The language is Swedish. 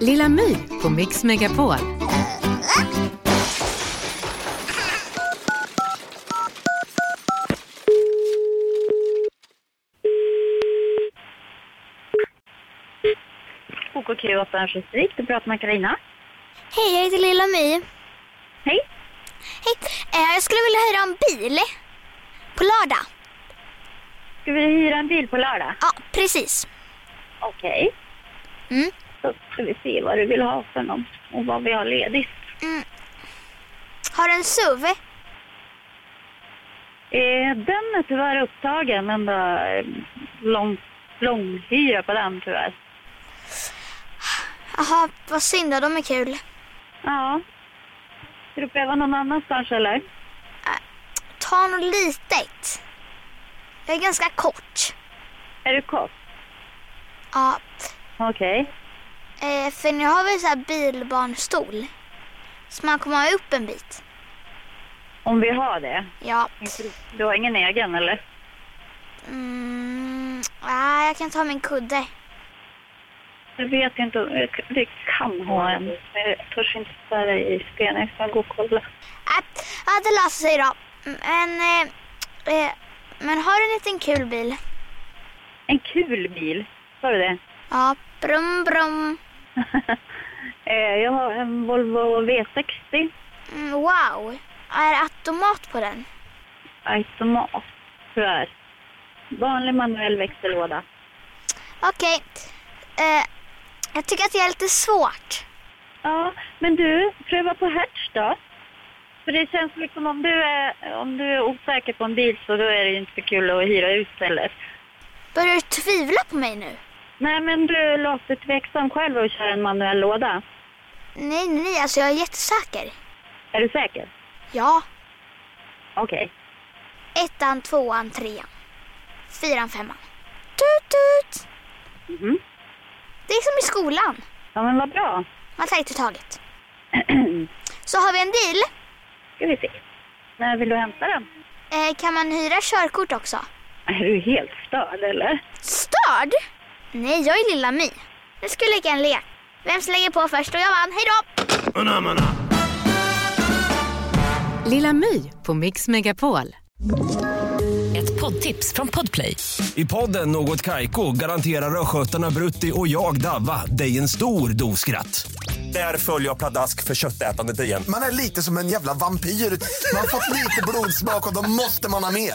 Lilla My på Mix Megapol. OKQ 876, du pratar med Karina. Hej, jag heter Lilla My. Hej. Hej. Eh, jag skulle vilja hyra en bil. På lördag. Ska vi hyra en bil på lördag? Ja, precis. Okej. Mm. Då ska vi se vad du vill ha för någon och vad vi har ledigt. Har du en SUV? Eh, den är tyvärr upptagen, den där eh, lång, långhyra på den tyvärr. Jaha, vad synd då, de är kul. Ja. Ska du pröva någon annanstans eller? Ta något litet. Jag är ganska kort. Är du kort? Ja, Okej. eh, för nu har vi så här bilbarnstol. Så man kommer upp en bit. Om vi har det. Ja. Du har ingen egen eller? Mm, ah, jag kan ta min kudde. Jag vet inte, om- jag k- vi kan ha en. Men jag törs inte svära i sten, jag ska gå och kolla. Äh, ja, det löser sig då. Men, eh, eh, men har du en liten kul bil? En kul bil, sa du det? Ja, brum brum. Eh, Jag har en Volvo V60 Mm, wow. Är det automat på den? automat, tyvärr. Vanlig manuell växellåda. Okej. Eh, jag tycker att det är lite svårt. Ja, men du, pröva på Hertz då. För det känns liksom om du är, om du är osäker på en bil så då är det ju inte så kul att hyra ut heller. Börjar du tvivla på mig nu? Nej, men du låter tveksam själv och kör en manuell låda. Nej, nej, nej, alltså jag är jättesäker. Är du säker? Ja. Okej. Ettan, tvåan, trean. Fyran, femman. Tut tut! Mhm. Det är som i skolan. Ja, men vad bra. Man tar ett i taget. Så har vi en deal. Ska vi se. När vill du hämta den? Eh, kan man hyra körkort också? Är du helt störd eller? Störd? Nej, jag är Lilla My. Nu ska vi leka en lek. Vem slänger på först? Och jag vann. Hej då! Lilla My på Mix Megapol. Ett poddtips från Podplay. I podden Något Kaiko garanterar östgötarna Brutti och jag, Davva, dig en stor dos skratt. Där följer jag pladask för köttätandet igen. Man är lite som en jävla vampyr. Man har fått lite blodsmak och då måste man ha mer.